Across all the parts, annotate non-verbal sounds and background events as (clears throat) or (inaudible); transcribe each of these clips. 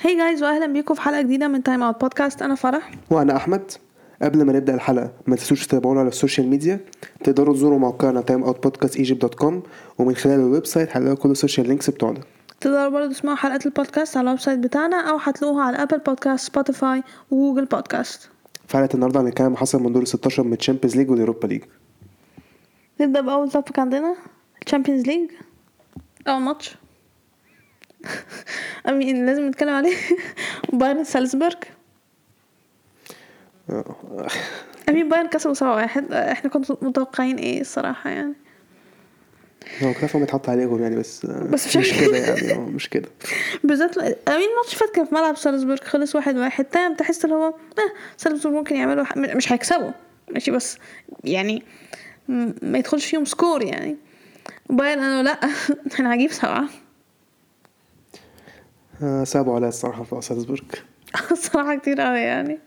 هاي جايز واهلا بيكم في حلقه جديده من تايم اوت بودكاست انا فرح وانا احمد قبل ما نبدا الحلقه ما تنسوش تتابعونا على السوشيال ميديا تقدروا تزوروا موقعنا timeoutpodcastegypt.com ومن خلال الويب سايت هتلاقوا كل السوشيال لينكس بتوعنا تقدروا برضه تسمعوا حلقات البودكاست على الويب سايت بتاعنا او هتلاقوها على ابل بودكاست سبوتيفاي وجوجل بودكاست في حلقه النهارده هنتكلم عن حصل من دور ال 16 من الشامبيونز ليج واليوروبا ليج نبدا باول توبيك عندنا الشامبيونز ليج اول (laughs) ماتش امين لازم نتكلم عليه (laughs) بايرن سالزبورج آه، امين بايرن كسبوا 7 واحد احنا كنا متوقعين ايه الصراحه يعني هو كلافهم بيتحط عليهم يعني بس آه، بس (laughs) مش مش عارف. كده يعني آه، مش كده بالذات امين ماتش فات كان في ملعب سالزبورج خلص واحد واحد تمام تحس ان هو اه سالزبورج ممكن يعملوا ح- مش هيكسبوا ماشي بس يعني م- ما يدخلش فيهم سكور يعني بايرن قالوا (laughs) لا احنا هنجيب سبعة (laughs) آه، صعبوا عليا الصراحه في سالزبورج الصراحة كتير قوي يعني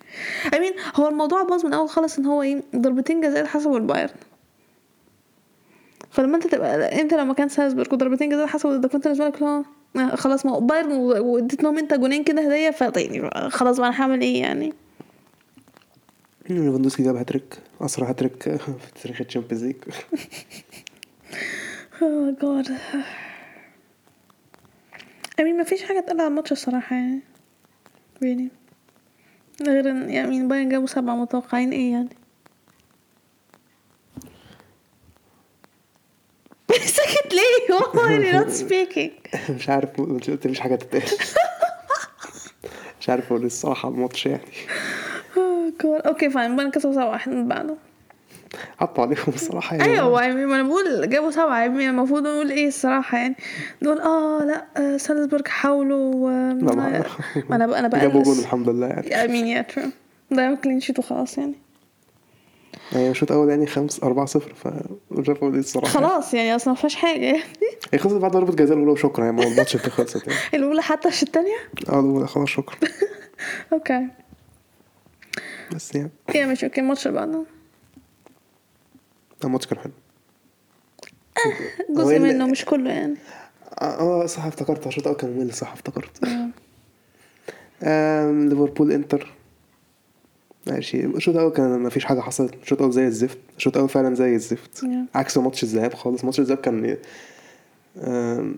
امين هو الموضوع باظ من اول خالص ان هو ايه ضربتين جزاء اتحسبوا لبايرن فلما انت تبقى انت لما كان سالزبورج وضربتين جزاء اتحسبوا ده كنت بالنسبه لك اللي هو آه، خلاص ما هو بايرن و- واديت لهم انت جونين كده هديه فطيني خلاص بقى انا هعمل ايه يعني ليفاندوسكي جاب هاتريك اسرع هاتريك (laughs) آه، في تاريخ الشامبيونز ليج اوه جاد امين مفيش حاجه تقلق على الماتش الصراحه يعني really غير ان يعني باين جابوا سبعة متوقعين ايه يعني (laughs) سكت ليه (laughs) والله you're not speaking (laughs) مش عارف ما انت قلت مفيش (laughs) حاجه تتقال مش عارف اقول إيه الصراحه على الماتش يعني اوه جاد اوكي فاين باين كسبوا سبعة واحد من بعده حطوا عليهم الصراحه يعني ايوه يعني ما انا بقول جابوا سبعة يعني المفروض اقول ايه الصراحة يعني نقول اه لا آه، سالزبورج حاولوا آه، لا، ما- ما انا بقى انا بقى جابوا جول الحمد لله يعني I mean yeah true ضيعوا كلين شيت وخلاص يعني يعني الشوط الاول يعني 5 4 0 فمش عارف اقول ايه الصراحه خلاص يعني اصلا ما فيهاش حاجه يعني هي خلصت بعد ضربه جزاء الاولى وشكرا يعني ما هو الماتش انت خلصت يعني الاولى حتى مش الثانيه اه الأولى خلاص شكرا اوكي بس يعني يا مش اوكي الماتش اللي بعده الماتش كان حلو هو جزء ال- منه مش كله يعني اه آه، صح افتكرت الشوط الاول كان ممل صح افتكرت (laughs) آم، ليفربول انتر ماشي الشوط الاول كان ما فيش حاجه حصلت الشوط الاول زي الزفت الشوط الاول فعلا زي الزفت Yeah. عكس ماتش الذهاب خالص ماتش الذهاب كان آم،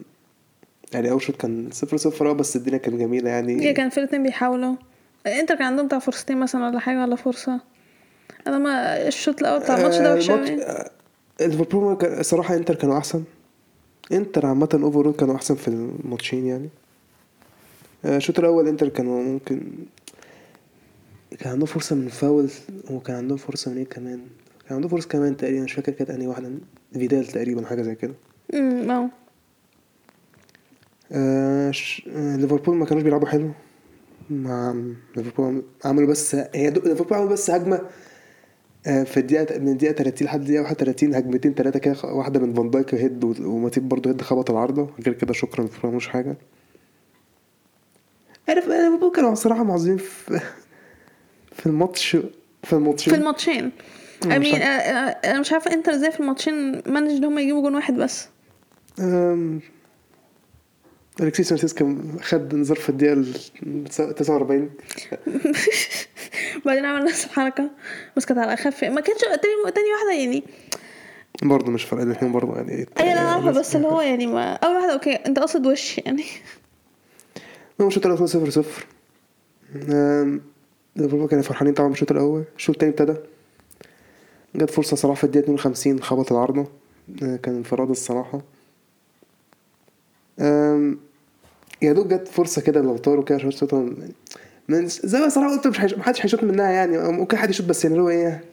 يعني اول شوط كان صفر صفر اه بس الدنيا كانت جميله هي يعني كان في الاتنين بيحاولوا انتر كان عندهم بتاع فرصتين مثلا ولا حاجه ولا فرصه انا ما الشوط الاول بتاع الماتش ده آه، وحش الماتش- أوي. آه، ليفربول كان- الصراحه انتر كانوا احسن انتر عامه اوفرول كانوا احسن في الماتشين يعني آه، الشوط الاول انتر كانوا ممكن كان عندهم فرصه من فاول وكان عندهم فرصه من ايه كمان كان عندهم فرصه كمان تقريبا مش فاكر كانت انهي واحده فيدال تقريبا حاجه زي كده امم اه آه، ش- آه، ليفربول ما كانوش بيلعبوا حلو مع ليفربول عملوا بس هي دو- ليفربول عملوا بس هجمه آه، في الدقيقة من الدقيقة 30 لحد الدقيقة 31 هجمتين ثلاثة كده خ- واحدة من فان دايك هيد و- وماتيب برضه هيد خبط العارضة غير كده شكرا ليفربول مش حاجة عارف آه، ليفربول كانوا صراحة معظمين في في الماتش في الماتش في الماتشين مش I mean, عارف. آه، آه، انا مش عارفه انتر ازاي في الماتشين مانج ان هم يجيبوا جون واحد بس (laughs) أم، الكسيس سانشيز كان خد انذار في الدقيقة ال 49 بعدين عمل نفس الحركه بس كانت على اخف ما كانش تاني تاني واحده يعني برضه مش فارقة الاثنين برضه يعني ايه ايوه انا عارفه بس اللي هو يعني ما اول واحده اوكي انت قصد وش (laughs) يعني هو الشوط الاول 0 0 ليفربول كانوا فرحانين طبعا بالشوط الاول الشوط التاني ابتدى جت فرصة صلاح في الدقيقة 52 خبط العارضة آه، كان انفراد الصراحة أم، يا دوب جت فرصة كده لو طاروا كده شوط شوطهم يعني من- زي ما صراحة قلت مش هيش- محدش هيشوط منها يعني أو ممكن حد يشوط بس يعني اللي هو ايه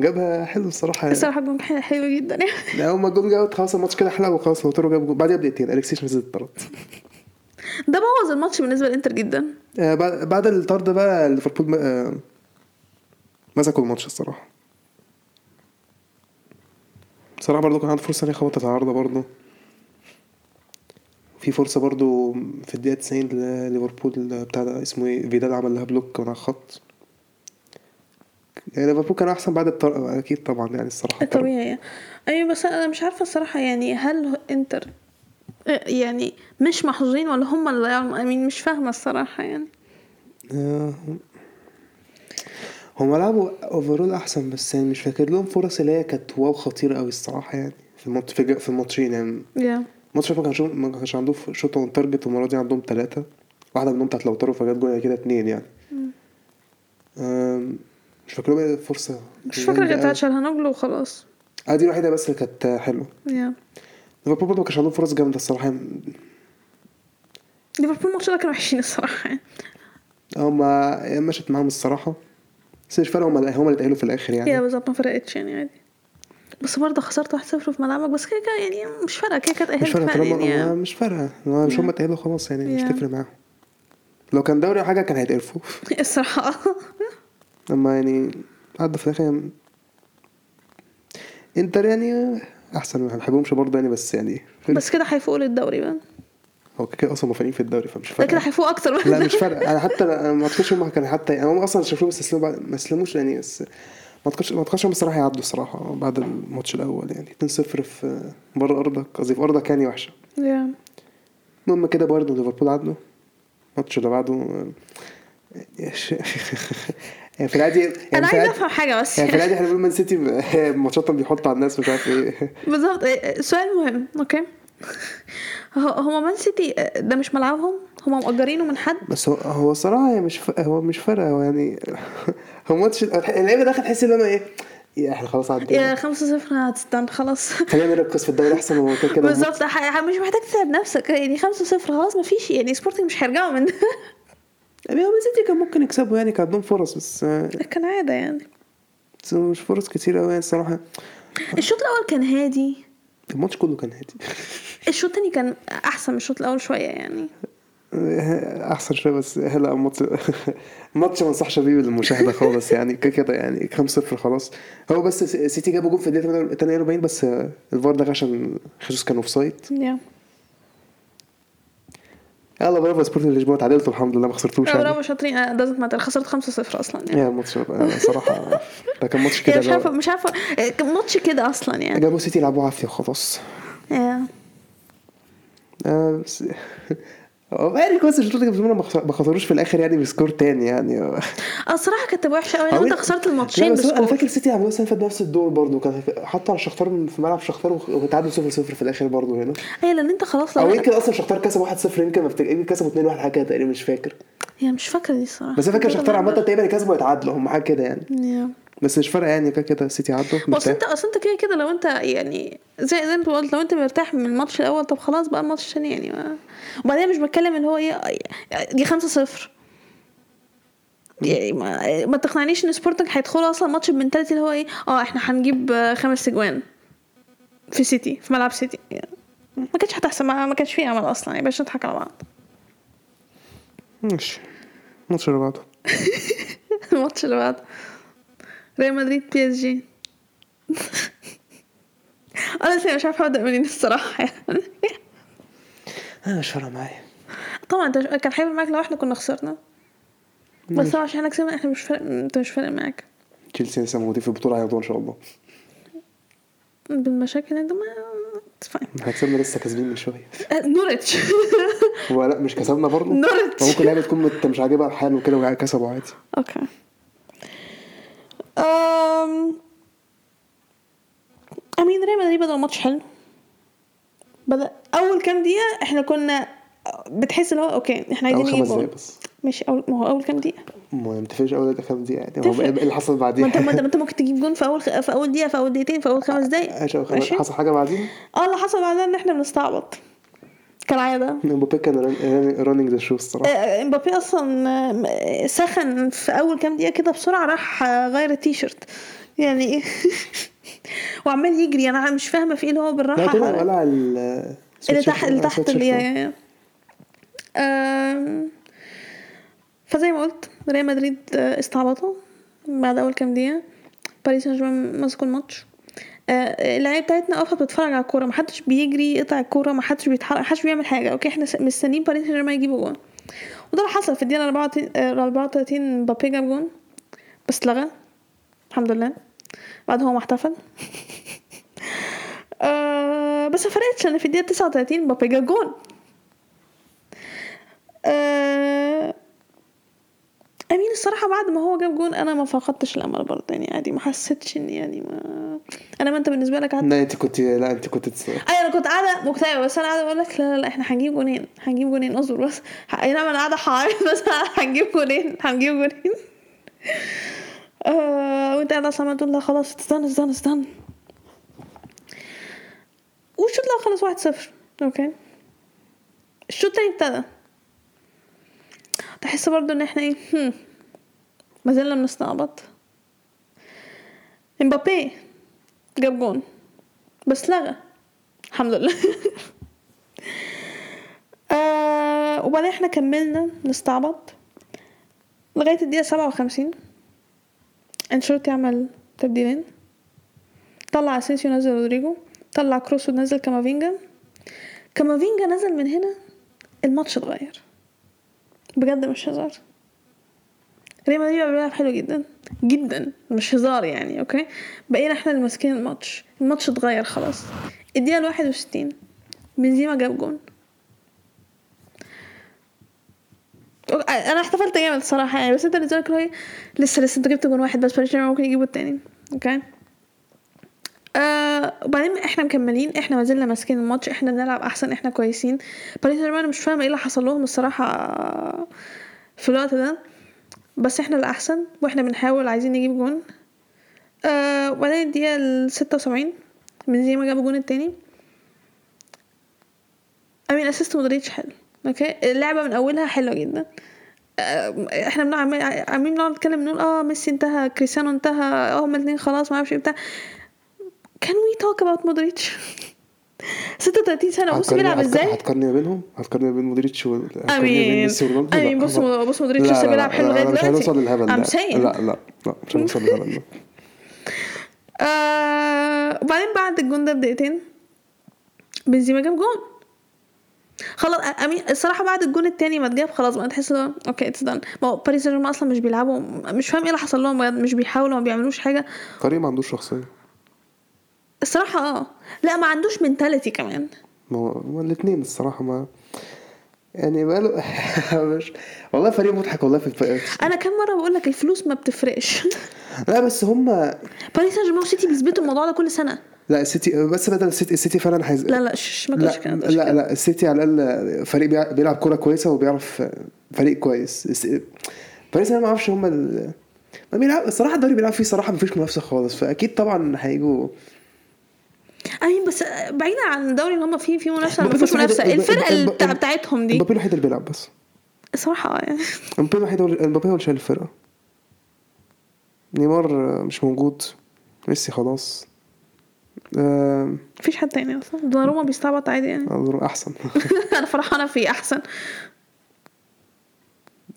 جابها حلو الصراحة يعني. الصراحه جون حلو حلو جدا يعني لا، أول ما الجون جاب خلاص الماتش كده حلو وخلاص لو طاروا جاب جون بعدها بدقيقتين أليكسيش نزل اتطرد (laughs) ده بوظ الماتش بالنسبه للانتر جدا آه، بعد بعد الطرد بقى ليفربول م- آه، مسكوا الماتش الصراحه صراحة برضو كان عنده فرصة ان هي خبطت على العارضة برضو في فرصة برضو في الدقيقة 90 ل- ليفربول بتاع ده اسمه ايه فيدال عمل لها بلوك من على الخط يعني ليفربول كان احسن بعد الطرد اكيد طبعا يعني الصراحة الطرد. أيوة، طبيعي ايوه بس انا مش عارفه الصراحه يعني هل انتر يعني مش محظوظين ولا هم اللي ضيعوا I mean مش فاهمه الصراحه يعني آه، هم- هم لعبوا اوفرول احسن بس يعني مش فاكر لهم فرص اللي هي كانت واو خطيره قوي الصراحه يعني في المط... في, ج- في الماتشين يعني yeah. الماتش ما كانش ما كانش عندهم شوط اون تارجت المره دي عندهم ثلاثه واحده منهم بتاعت لوتارو فجت جول يعني كده اتنين يعني آم، مش فاكر لهم ايه فرصه مش فاكره غير جامدة بتاعت أوي. شالهانوجلو وخلاص اه دي الوحيده بس اللي كانت حلوه yeah. ليفربول برضه ما كانش عندهم فرص جامده الصراحه يعني ليفربول الماتش ده كانوا وحشين الصراحه يعني هما مشت معاهم الصراحه بس مش فارقه هما اللي- هما اللي اتأهلوا في الاخر يعني يا بالظبط ما فرقتش يعني عادي بس برضه خسرت 1-0 في ملعبك بس كده كده يعني مش فارقه كده كده مش اتأهلت فارقه فعلا طالما (laughs) يعني. يعني مش فارقه هو مش Yeah. هم اتأهلوا خلاص يعني مش Yeah. تفرق معاهم لو كان دوري او حاجه كان هيتقرفوا الصراحه اما يعني عدوا في الاخر يعني انتر يعني احسن ما بحبهمش برضه يعني بس يعني بس كده هيفوقوا للدوري بقى هو كده كده اصلا مفانين في الدوري فمش ده كده فارقه هيفوقوا اكتر بقى لا (laughs) مش فارقه انا حتى انا ما اعتقدش هم كانوا حتى يعني هم اصلا شافوه بس استسلموا بعد- ما استسلموش يعني بس ما اعتقدش ما اعتقدش هم الصراحه يعدوا الصراحه بعد الماتش الاول يعني 2-0 في بره ارضك قصدي في ارضك يعني وحشه يا المهم كده برضه ليفربول عدوا الماتش اللي بعده آه، يعني (laughs) في العادي يعني انا في عايزه العادي- افهم حاجه بس يعني في العادي احنا بنقول مان سيتي آه، ماتشاتهم بيحط على الناس مش عارف ايه بالظبط إيه، سؤال مهم اوكي (laughs) هو هما مان سيتي آه، ده مش ملعبهم هما مأجرينه من حد بس هو هو صراحه يعني مش ف... هو مش فارقه هو يعني (laughs) هو ماتش اللعيبه داخل تحس ان انا ايه يا احنا خلاص يا عدينا 5-0 هتستنى خلاص خلينا نركز في الدوري احسن هو (laughs) كده كده بالظبط ح- مش محتاج تتعب نفسك يعني 5-0 خلاص مفيش يعني سبورتنج مش هيرجعوا من ده (laughs) يعني هو مان سيتي كان ممكن يكسبوا يعني كان عندهم فرص بس آه، كالعاده يعني بس مش فرص كتير قوي يعني الصراحه الشوط الاول كان هادي الماتش كله كان هادي الشوط التاني كان احسن من الشوط الاول شويه يعني احسن شويه بس هلا الماتش الماتش ما انصحش بيه بالمشاهده خالص يعني كده كده يعني 5-0 خلاص هو بس سيتي جابوا جول في الدقيقه 48 بس الفار ده عشان خيسوس كان اوف سايد يا يلا برافو سبورتنج لشبونه تعادلتوا الحمد لله ما خسرتوش يعني برافو شاطرين آه، دازت ماتر خسرت 5-0 اصلا يعني يا الماتش بقى صراحه ده كان ماتش يعني كده مش عارفه جابوا- مش عارفه آه، كان ماتش كده اصلا يعني جابوا سيتي يلعبوا عافيه وخلاص أيوة. يا. آه، بس (laughs) هو يعني كويس الشوط اللي قبل ما خسر- ما خسروش في الاخر يعني بسكور تاني يعني آه، الصراحه كانت تبقى وحشه قوي هو لو انت أنت- خسرت إيه؟ لا الماتشين بس هو انا بسكور فاكر سيتي عملوا السنه اللي فاتت نفس الدور برضه كان حتى على شختار في ملعب شختار وخ- وتعادلوا 0 0 في الاخر برضه هنا ايوه لان انت خلاص او لو يمكن اصلا شختار كسب 1 0 يمكن ما افتكر يمكن كسبوا 2 1 حاجه كده تقريبا مش فاكر هي يعني مش فاكره دي الصراحه بس انا فاكر كده شختار عامه بقى. تقريبا كسبوا يتعادلوا هم حاجه كده يعني يا. بس مش فارقه يعني كده كده سيتي عدوا اصل مرتاح. انت اصل انت كده كده لو انت يعني زي زي انت قلت لو انت مرتاح من الماتش الاول طب خلاص بقى الماتش الثاني يعني ما. وبعدين مش بتكلم اللي هو ايه آه، دي 5-0 يعني ما, ما تقنعنيش ان سبورتنج هيدخلوا اصلا ماتش بمنتاليتي اللي هو ايه اه احنا هنجيب آه، خمس اجوان في سيتي في ملعب سيتي يعني ما كانش هتحسن ما ما كانش فيه امل اصلا يعني باش نضحك على بعض ماشي الماتش اللي بعده (laughs) الماتش اللي بعده ريال مدريد بي (laughs) اس جي انا لسه مش عارفه ابدا منين (laughs) الصراحه يعني انا آه، مش فارقه معايا طبعا انت كان هيفرق معاك لو احنا كنا خسرنا بس هو عشان احنا كسبنا احنا مش فارق انت مش فارق معاك تشيلسي لسه موجودين في البطوله هياخدوها ان شاء الله بالمشاكل انت ما it's fine. احنا كسبنا لسه كاسبين من شويه آه، (laughs) نورتش هو لا مش كسبنا (laughs) برضه نورتش. ممكن لعبه تكون مت- مش عاجبها الحال وكده وكسبوا عادي اوكي أم... امين ريال مدريد بدأ الماتش حلو بدأ اول كام دقيقة احنا كنا بتحس اللي هو اوكي احنا عايزين نجيب اول خمس جول دقايق بس ماشي اول ما هو اول كام دقيقة ما متفقش اول دقيقه خمس دقايق يعني هو تفرق. ايه اللي حصل بعدين ما (laughs) انت ما انت ما انت ممكن تجيب جون في اول خ... في اول دقيقة في اول دقيقتين في اول خمس (laughs) عشان دقايق خلاص ماشي حصل حاجه بعدين اه اللي حصل بعدها ان احنا بنستعبط كالعادة مبابي كان رانينج ذا شو الصراحه آه، امبابي اصلا آه، سخن في اول كام دقيقه كده بسرعه راح آه، غير التيشيرت يعني (laughs) وعمال يجري انا مش فاهمه في ايه اللي هو لا بالراحه طلع ولا ال اللي تحت اللي تحت اللي يعني يعني آم، فزي ما قلت ريال مدريد آه، استعبطوا بعد اول كام دقيقه باريس سان جيرمان مسكوا الماتش آه، اللعيبه بتاعتنا واقفه بتتفرج على الكوره محدش بيجري يقطع الكوره محدش بيتحرك محدش بيعمل حاجه اوكي احنا س- مستنيين باريس سان جيرمان يجيبوا جون وده اللي حصل في الدقيقه 34 آه، 34 مبابي جاب جون بس اتلغى الحمد لله بعد هو ما احتفل (laughs) آه، آه بس ما فرقتش انا في الدقيقه 39 مبابي جاب جون آه امين الصراحه بعد ما هو جاب جون انا ما فقدتش الامل برضه يعني عادي ما حسيتش ان يعني ما انا ما انت بالنسبه لك قعدت لا انت كنت لا انت كنت تس- اي انا أيوة، كنت قاعده مكتئبه بس انا قاعده اقول لك لا لا لا احنا هنجيب جونين هنجيب جونين اصبر بس ح- اي نعم انا قاعده حعيط (laughs) بس هنجيب جونين هنجيب جونين (laughs) آه وانت قاعده اصلا عمالة تقول لا خلاص استنى استنى استنى والشوط الاول خلص واحد صفر اوكي الشوط التاني ابتدى تحس برضو ان احنا ايه هم، ما زلنا بنستعبط امبابي جاب جون بس لغى الحمد لله (laughs) آه وبعدين احنا كملنا نستعبط لغاية الدقيقة سبعة وخمسين انشيلوتي عمل تبديلين طلع اسينسيو نزل رودريجو طلع كروس ونزل كامافينجا كامافينجا نزل من هنا الماتش اتغير بجد مش هزار ريال مدريد بقى بيلعب حلو جدا جدا مش هزار يعني اوكي بقينا احنا اللي ماسكين الماتش الماتش اتغير خلاص الدقيقة الواحد وستين بنزيما جاب جون انا احتفلت جامد الصراحة يعني بس انت بالنسبة لك اللي هو إيه، لسه لسه انت جبت جون واحد بس باريس سان ممكن يجيبوا التاني اوكي آه وبعدين احنا مكملين احنا ما زلنا ماسكين الماتش احنا بنلعب احسن احنا كويسين باريس سان جيرمان مش فاهمه ايه اللي حصل لهم الصراحه في الوقت ده بس احنا الاحسن واحنا بنحاول عايزين نجيب جون آه وبعدين الدقيقه ال 76 بنزيما جاب الجون التاني امين اسيست مودريتش حلو اوكي اللعبه من اولها حلوه جدا آه، احنا بنقعد عمال- عمالين بنقعد نتكلم نقول اه ميسي انتهى كريستيانو انتهى اه هما الاثنين خلاص ما اعرفش ايه بتاع كان وي توك اباوت (laughs) مودريتش 36 سنه بص هتقارني- بيلعب هتق- ازاي هتقارني ما بينهم هتقارني ما بين مودريتش و هتقارني بين امين ميسي ورونالدو امين لا، بص هو- بص مودريتش لسه بيلعب حلو لغايه لا، مش دلوقتي هنوصل للهبل I'm ده saying. لا لا لا (laughs) مش هنوصل للهبل ده آه وبعدين بعد الجون ده بدقيقتين بنزيما جاب جون خلاص امين الصراحه بعد الجون التاني ما اتجاب خلاص بقى تحس ان هو اوكي اتس دان ما هو باريس سان جيرمان اصلا مش بيلعبوا مش فاهم ايه اللي حصل لهم بجد مش بيحاولوا ما بيعملوش حاجه كريم ما عندوش شخصيه الصراحه اه لا ما عندوش منتاليتي كمان ما هو هما الاتنين الصراحه ما يعني بقاله (laughs) مش والله فريق مضحك والله في الفريق انا كم مره بقول لك الفلوس ما بتفرقش (laughs) لا بس هما باريس سان جيرمان وسيتي بيثبتوا الموضوع ده كل سنه لا السيتي بس بدل السيتي السيتي فعلا هيز... لا لا شش ما تقولش لا كده ما تقولش لا, كده. لا السيتي على الاقل فريق بيع- بيلعب كوره كويسه وبيعرف فريق كويس الس- باريس انا ما اعرفش هم ال... ما بيلعب الصراحه الدوري بيلعب فيه صراحه ما فيش منافسه خالص فاكيد طبعا هيجوا امين بس بعيدا عن الدوري ان هم فيه فيه منافسه ما مبابي فيش بس الوحيد- منافسه مبابي- الفرقه اللي مبابي- بتاع- بتاعتهم دي مبابي الوحيد اللي بيلعب بس الصراحه اه يعني مبابي الوحيد هو اللي- مبابي هو اللي شايل الفرقه نيمار مش موجود ميسي خلاص آه، مفيش حد تاني اصلا دوناروما بيستعبط عادي (laughs) يعني أظن احسن انا فرحانه فيه احسن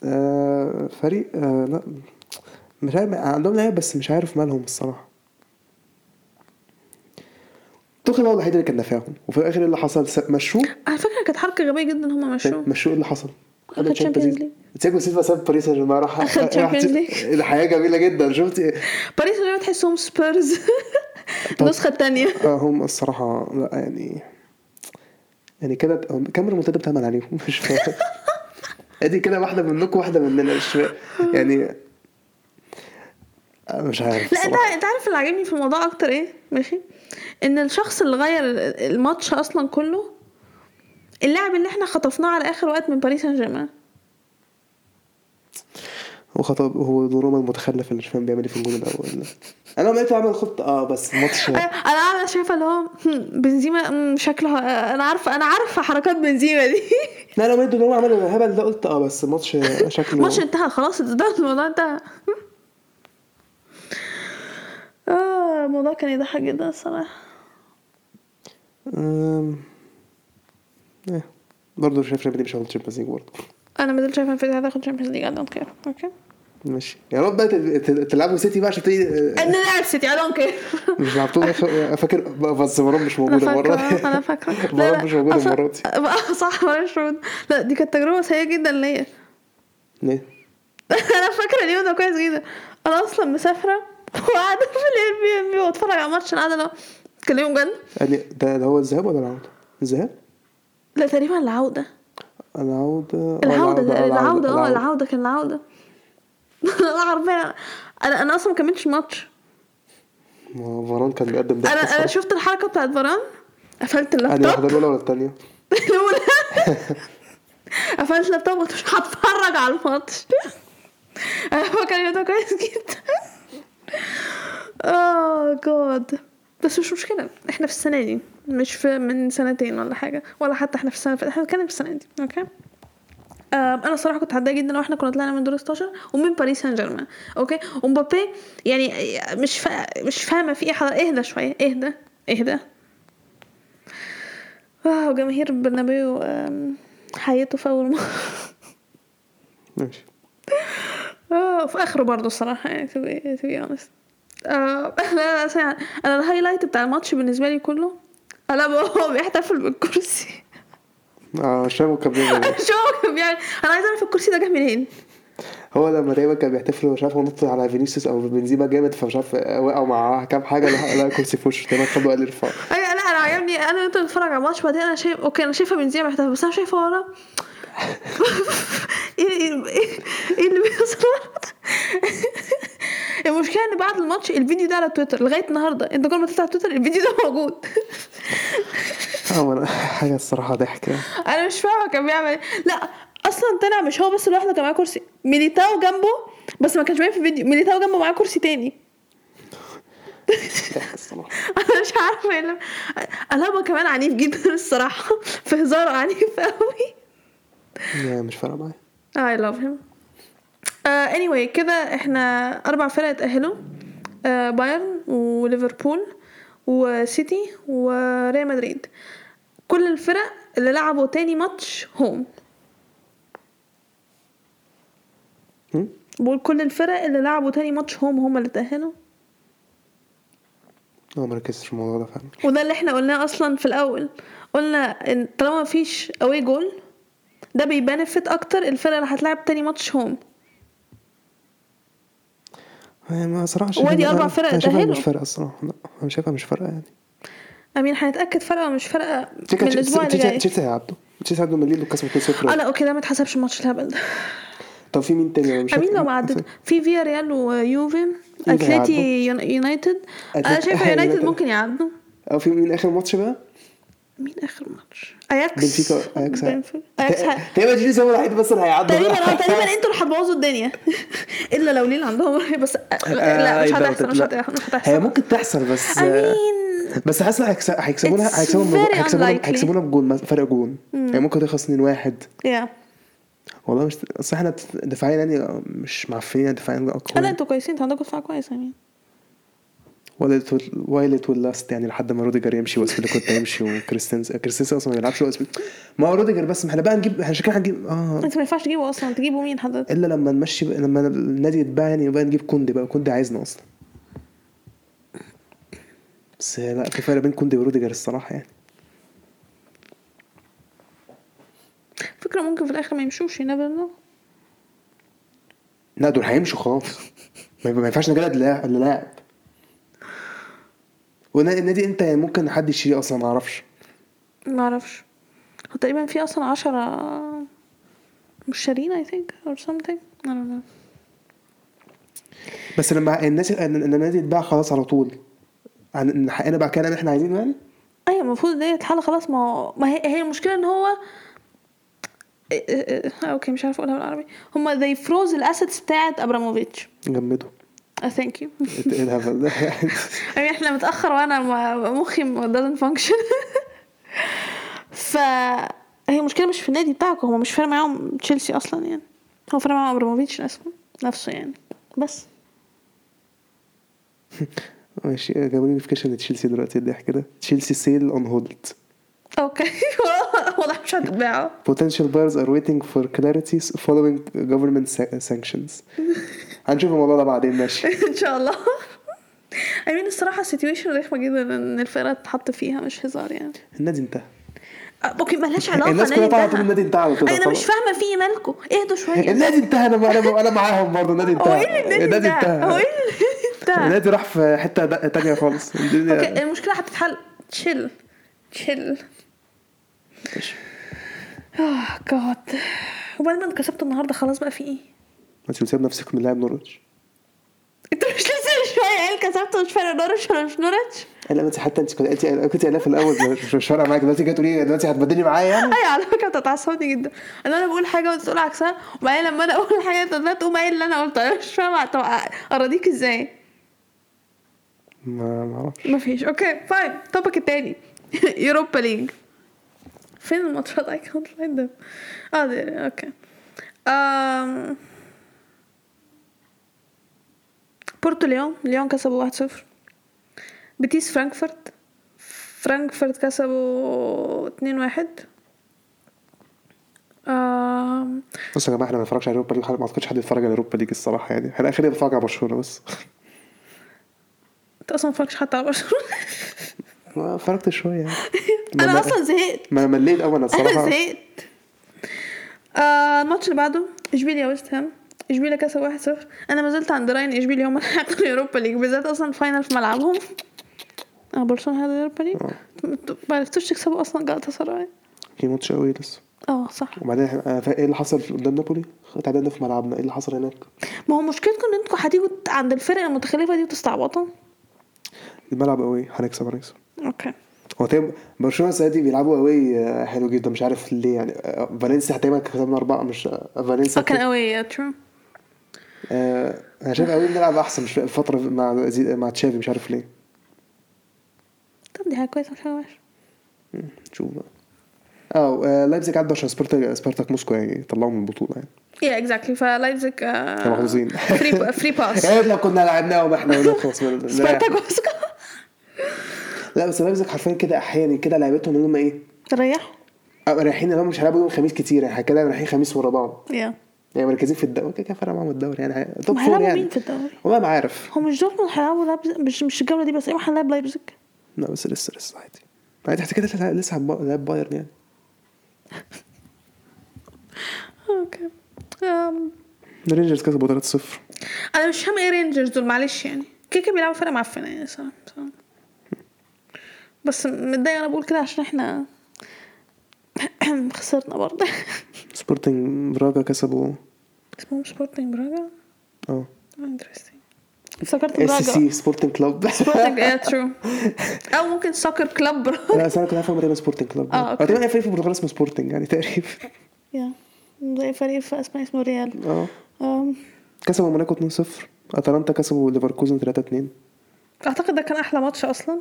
آه، فريق آه، لا مش عارف عندهم لعيبه بس مش عارف مالهم الصراحه توخيل هو الوحيد اللي كان نافعهم وفي الاخر إيه اللي حصل س- مشوه على فكره كانت حركه غبيه جدا هما مشوه مشوه إيه اللي حصل أخد Champions خد Champions League. League. تياجو سيلفا ساب باريس سان جيرمان راح أخد راح- Champions League. الحياه جميله جدا شفت إيه؟ باريس سان جيرمان تحسهم سبيرز (laughs) طب. النسخه التانية آه، هم الصراحه لا يعني يعني كده هم- كام المنتدى بتعمل عليهم (laughs) مش فاهم ادي كده واحده منكم واحده مننا مش فاهم يعني آه، مش عارف لا انت الصراحة. انت عارف اللي عاجبني في الموضوع اكتر ايه ماشي ان الشخص اللي غير الماتش اصلا كله اللاعب اللي احنا خطفناه على اخر وقت من باريس سان جيرمان وخطب هو دوناروما المتخلف اللي مش فاهم بيعمل ايه في الجون الاول انا لقيته عمل خطه اه بس الماتش انا انا قاعدة شايفه اللي هو هم، بنزيما هم، شكله انا عارفه انا عارفه حركات بنزيما دي (laughs) لا لو لقيت دوناروما عمل الهبل ده قلت اه بس الماتش شكله الماتش انتهى خلاص (laughs) ده الموضوع انتهى اه الموضوع كان يضحك جدا الصراحه آم، إيه. برضه شايف ريال مدريد مش هياخد تشامبيونز ليج برضه انا ما زلت شايفه ان فرقه هتاخد تشامبيونز ليج اي دونت كير اوكي إيه. ماشي يا رب بقى تل- تل- تلعبوا سيتي بقى عشان تلاقي آه، انا لاعب سيتي اي دونت كير مش لعبتوه آخر- فاكر بقى آه، بس مرام مش انا موجوده المره دي. فاكره انا (laughs) فاكره لا مرام لا مش موجوده أصلاً- المره دي آه، (laughs) صح مرام مش موجودة. لا دي كانت تجربه سيئه جدا ليا (laughs) ليه؟ انا فاكره اليوم ده (laughs) كويس جدا انا اصلا مسافره وقاعده في البي ام بي واتفرج على ماتش انا قاعده لو تكلموا بجد قال لي يعني ده اللي هو الذهاب ولا العوده الذهاب لا تقريبا العودة العوده آه، العودة ده- العودة اه العودة. العودة كان العودة (laughs) انا عارفة انا انا اصلا ما كملتش الماتش ما هو فران كان بيقدم ده انا انا شفت الحركة بتاعت فران قفلت انا واخده اللابتوب الاولى يعني ولا الثانيه الأولى. قفلت اللابتوب قلت مش هتفرج على الماتش انا فاكر اليوم ده كويس جدا اه جاد بس مش مشكلة احنا في السنة دي مش في من سنتين ولا حاجة ولا حتى احنا في السنة احنا بنتكلم في السنة دي اوكي آه، انا الصراحه كنت هتضايق جدا لو احنا كنا طلعنا من دور 16 ومن باريس سان جيرمان اوكي ومبابي يعني مش فا... مش فاهمه في ايه حضر- اهدى شويه اهدى اهدى اه وجماهير برنابيو آم، حيته في اول (laughs) مره ماشي اه في اخره برضه الصراحه يعني to be, to be honest آه، (laughs) لا، لا، ساعة. انا الهايلايت بتاع الماتش بالنسبه لي كله انا هو بيحتفل بالكرسي (laughs) اه شافه كان بيعمل إيه. شو يعني هو كان بيعمل انا عايزه اعرف الكرسي ده جه منين هو لما تقريبا كان بيحتفل ومش عارف هو نط على فينيسيوس او بنزيما جامد فمش عارف وقعوا مع كام حاجه لحق لقى كرسي في وشه تقريبا خدوا قال ارفع ايوه لا انا عجبني انا وانت بنتفرج على الماتش بعدين انا شايف اوكي انا شايفه بنزيما بيحتفل بس انا شايفه ورا (laughs) ايه ايه إيه- ايه اللي بيحصل (laughs) المشكله ان بعد الماتش الفيديو ده على تويتر لغايه النهارده انت كل ما تفتح تويتر الفيديو ده موجود (laughs) اه أنا- حاجه الصراحه ضحك يعني. انا مش فاهمه كان بيعمل إيه. لا اصلا طلع مش هو بس لوحده كان معاه كرسي ميليتاو جنبه بس ما كانش باين في الفيديو ميليتاو جنبه معاه كرسي تاني (laughs) ضحك الصراحه انا مش عارفه ايه اللي- الابا كمان عنيف جدا الصراحه (laughs) في هزاره عنيف قوي يا مش فارقه معايا Ah, I love him. Uh, anyway كده احنا أربع فرق اتأهلوا uh, بايرن وليفربول وسيتي وريال مدريد كل الفرق اللي لعبوا تاني ماتش هوم هم؟ بقول كل الفرق اللي لعبوا تاني ماتش هوم هم اللي اتأهلوا اه ما ركزتش في الموضوع ده فعلا وده اللي احنا قلناه اصلا في الاول قلنا ان طالما مفيش اواي جول ده بيبنفت اكتر الفرقه اللي هتلعب تاني ماتش هوم آه، ما صراحه وادي شايفها- أربع أنا- فرق أنا شايفها مش اتأهلوا. فارقه الصراحه لا انا شايفها مش فارقه يعني امين هنتاكد فرقه ولا مش فرقه تشيكا- من الاسبوع اللي تشيكا- جاي تشيلسي هيعدوا تشيلسي هيعدوا من ليل وكسبوا 2-0 اه لا اوكي ده ما اتحسبش ماتش الهبل ده طب في مين تاني أنا مش امين عارف- لو ما عدت في فيا ريال ويوفي اتلتي يون- يونايتد انا أتلتي- شايفه يونايتد يونايتد. ممكن يعدوا او في مين اخر ماتش بقى مين اخر ماتش اياكس بنفيكا اياكس بنفيكا. اياكس ه- تقريبا تشيلسي هو الوحيد بس اللي هيعدي تقريبا (laughs) اه تقريبا انتوا اللي هتبوظوا الدنيا (laughs) الا لو ليل عندهم (laughs) بس آه، لا آه، مش هتحصل مش هتحصل مش إيه، هي هتحصل ممكن تحصل بس امين بس حاسس هيكس- هيكسبونا It's هيكسبونا very هيكسبونا unlikely. هيكسبونا بجون مث- فرق جون يعني ممكن تخلص 2-1 يا والله مش اصل احنا دفاعيا يعني مش معفنين يعني دفاعيا لا اقوى انتوا كويسين انتوا عندكم دفاع كويس امين وايلت ويل- وايلت ولاست يعني لحد ما روديجر يمشي واسبيليكوتا يمشي وكريستنس كريستنسن اصلا ما بيلعبش وأسبيل- ما هو روديجر بس ما احنا بقى نجيب احنا شكلنا هنجيب اه انتوا ما ينفعش تجيبوا اصلا تجيبوا مين حضرتك الا لما نمشي بقى- لما النادي يتباع يعني يبقى نجيب كوندي بقى كوندي عايزنا اصلا بس لا في فرق بين كوندي وروديجر الصراحه يعني فكره ممكن في الاخر ما يمشوش ينبر نو لا دول هيمشوا خلاص ما ما ينفعش نجلد لا- اللي لاعب والنادي انت يعني ممكن حد يشتريه اصلا ما اعرفش ما اعرفش هو تقريبا في اصلا عشرة مش شارين I think or something I don't know بس لما الناس ان إن النادي اتباع خلاص على طول عن- حقنا بقى كده اللي احنا عايزينه يعني ايوه المفروض ديت حالة خلاص ما هو- ما هي, هي المشكلة ان هو إيه- إيه- إيه، اوكي مش عارفة اقولها بالعربي هما they froze الاسيتس بتاعت ابراموفيتش جمدوا I thank you (laughs) ايه الهبل ده يعني احنا متأخر وانا ما- مخي ما- doesn't function (laughs) ف هي المشكلة مش في النادي بتاعكم هما مش فارق معاهم تشيلسي اصلا يعني هو فارق معاهم ابراموفيتش نفسه نفسه يعني بس (laughs) ماشي جابوا لي نوتيفيكيشن لتشيلسي دلوقتي الضحك ده تشيلسي سيل اون هولد اوكي (laughs) واضح مش هتتباعوا (laughs) potential buyers are waiting for clarity following government sa- sanctions هنشوف الموضوع ده بعدين ماشي ان شاء الله I mean الصراحة سيتويشن رخمة جدا ان الفرقة تتحط فيها مش هزار يعني النادي انتهى آه، اوكي ملهاش علاقة الناس كلها نادي طلعت انتهى. من النادي انتهى على طول انا مش خلاص. فاهمة في إيه مالكوا اهدوا شوية النادي انتهى انا انا انا معاهم برضه النادي هو انتهى ايه اللي النادي ده؟ هو ايه اللي النادي ده؟ النادي راح في حته تانية خالص الدنيا اوكي المشكلة هتتحل تشيل تشيل اه جاد وبعد ما انكسبت النهارده خلاص بقى في (laughs) ايه؟ ما انت سايب نفسك من لاعب نورتش انت مش لسه من شويه قايل كسبت ومش فارق نورتش ولا مش نورتش؟ لا ما انت حتى انت كنت انت كنت قايلاه (laughs) في الاول مش مش فارقه معاك دلوقتي جاي تقولي إيه، دلوقتي هتبدلي معايا يعني ايوه على فكره بتتعصبني جدا ان انا بقول حاجه وانت تقول عكسها وبعدين لما انا اقول حاجه انت تبقى تقوم قايل اللي انا قلته انا مش فاهمه طب اراضيك ازاي؟ ما ما اعرفش مفيش اوكي فاين توبك التاني (laughs) يوروبا ليج فين الماتشات اي كانت فايند ذم اه دي- اوكي أم... بورتو ليون ليون كسبوا 1-0 بيتيس فرانكفورت فرانكفورت كسبوا 2-1 أم... بصوا يا جماعه احنا ما بنتفرجش على اوروبا ليج ما اعتقدش حد يتفرج على اوروبا ليج الصراحه يعني احنا اخرنا بنتفرج على برشلونه (laughs) بس انت اصلا مفرجش حتى على (laughs) برشلونه ما اتفرجت شويه يعني. انا ما- اصلا زهقت ما انا مليت قوي انا انا (laughs) الصراحه زهقت آه الماتش اللي بعده اشبيليا ويست هام اشبيليا كسب 1-0 انا ما زلت عند راين اشبيليا هم اللي هياخدوا اليوروبا ليج بالذات اصلا الفاينل في ملعبهم اه برشلونه هذا اليوروبا ليج آه. ما عرفتوش تكسبوا اصلا جالاتا سراي في ماتش قوي لسه اه صح وبعدين إحنا- آه، فا- ايه اللي حصل قدام نابولي؟ تعادلنا في ملعبنا ايه اللي حصل هناك؟ ما هو مشكلتكم ان انتوا هتيجوا عند الفرق المتخلفه دي وتستعبطوا الملعب قوي هنكسب هنكسب اوكي هو طيب برشلونه السنه دي بيلعبوا قوي آه، حلو جدا مش عارف ليه يعني آه، فالنسيا تقريبا كسبنا اربعه مش آه، فالنسيا كان قوي ترو آه، انا شايف قوي بنلعب احسن مش الفتره مع زي... مع تشافي مش عارف ليه طب دي حاجه كويسه مش حاجه وحشه مم، نشوف بقى اه آه، لايبزيج عدى عشان سبارتاك سبارتاك موسكو يعني طلعوا من البطوله يعني يا اكزاكتلي فلايبزيج كانوا كانوا محظوظين آه. فري فري (laughs) باس يا ريت لو كنا لعبناهم احنا قلنا خلاص ما- لا. سبارتاك وسكا لا بس لايبزيج حرفيا كده احيانا كده لعبتهم ان هم ايه (laughs) ريحوا آه، رايحين اللي هم مش هيلعبوا يوم خميس كتير يعني كده رايحين خميس ورا بعض يا يعني مركزين في الدوري كده كده فارقه معاهم الدوري يعني هي- توب هم فور هيلعبوا يعني مين في الدوري؟ والله ما عارف هو مش دورتموند هيلعبوا لايبزيج مش مش الجوله دي بس ايوه هنلعب لايبزيج لا بس لسه لسه عادي عادي تحت كده لسه لعب بايرن يعني اوكي أم. الرينجرز كسبوا 3-0 انا مش فاهم ايه رينجرز دول معلش يعني كده كده بيلعبوا فرقه معفنه يعني صراحه صراحة. بس متضايقه انا بقول كده عشان احنا (clears throat) خسرنا برضه سبورتنج براجا كسبوا اسمهم سبورتنج براجا اه انترستنج افتكرت اس براجا سي سبورتنج (laughs) كلوب سبورتنج ايه ترو او ممكن سوكر كلاب براجا (laughs) لا بس انا كنت عارف هم تقريبا سبورتنج كلوب آه، اه أوكي. تقريبا أي فريق في البرتغال اسمه سبورتنج يعني (laughs) تقريبا يا زي فريق في اسبانيا اسمه ريال اه أم. كسبوا موناكو 2-0 اتلانتا كسبوا ليفركوزن 3-2 اعتقد ده كان احلى ماتش اصلا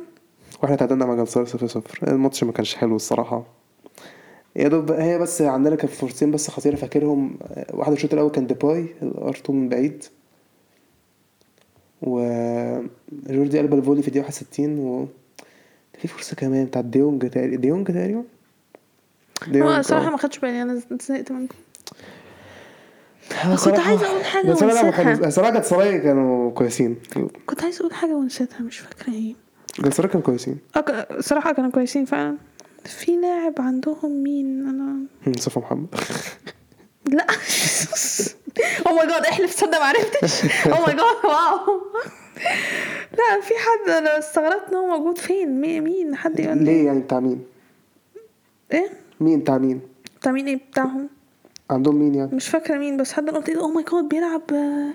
واحنا تعادلنا مع جلسار 0-0 الماتش ما كانش حلو الصراحه يا دوب هي بس عندنا كان فرصتين بس خطيره فاكرهم آه، واحده الشوط الاول كان ديباي ارتو من بعيد و جوردي قلب الفولي في الدقيقه 61 و كان في فرصه كمان بتاعت ديونج تقريبا ديونج تقريبا ديونج، هو آه. صراحه ما خدش بالي انا زهقت منكم أنا كنت آه، صراحة- عايزة أقول حاجة بس أنا لعبوا ونسيتها. حلو. صراحة كانت سراي كانوا كويسين كنت عايزه اقول حاجه ونسيتها مش فاكره ايه كانت سراي كانوا كويسين أك... صراحه كانوا كويسين فعلا في لاعب عندهم مين انا مصطفى محمد (laughs) لا Oh او ماي جاد احلف صدق ما عرفتش او ماي جاد واو لا في حد انا استغربت ان هو موجود فين مي- مين حد يقول لي ليه يعني بتاع مين؟ ايه مين بتاع مين؟ بتاع مين ايه بتاعهم عندهم مين يعني؟ مش فاكره مين بس حد قلت ايه او ماي جاد بيلعب آه،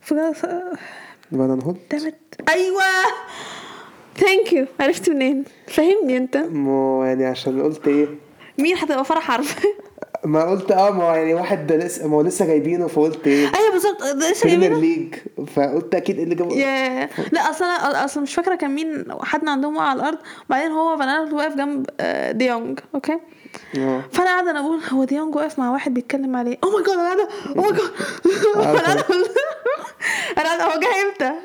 في جلسة- فان هول دامت ايوه ثانك يو عرفت منين فهمني انت مو يعني عشان قلت ايه مين هتبقى فرح (laughs) حرف ما قلت اه ما هو يعني واحد ده لسه ما هو لسه جايبينه فقلت ايه ايوه بالظبط ده لسه بريمير جايبينه ليج فقلت اكيد إيه اللي جابه يا لا اصل انا اصل مش فاكره كان مين حد عندهم وقع على الارض وبعدين هو فان أيرت واقف جنب آه، ديونج اوكي اه فانا قاعده انا اقول هو ديونج واقف مع واحد بيتكلم عليه Oh او ماي جاد انا قاعده او ماي جاد (laughs) انا قاعده انا قاعده هو جاي امتى؟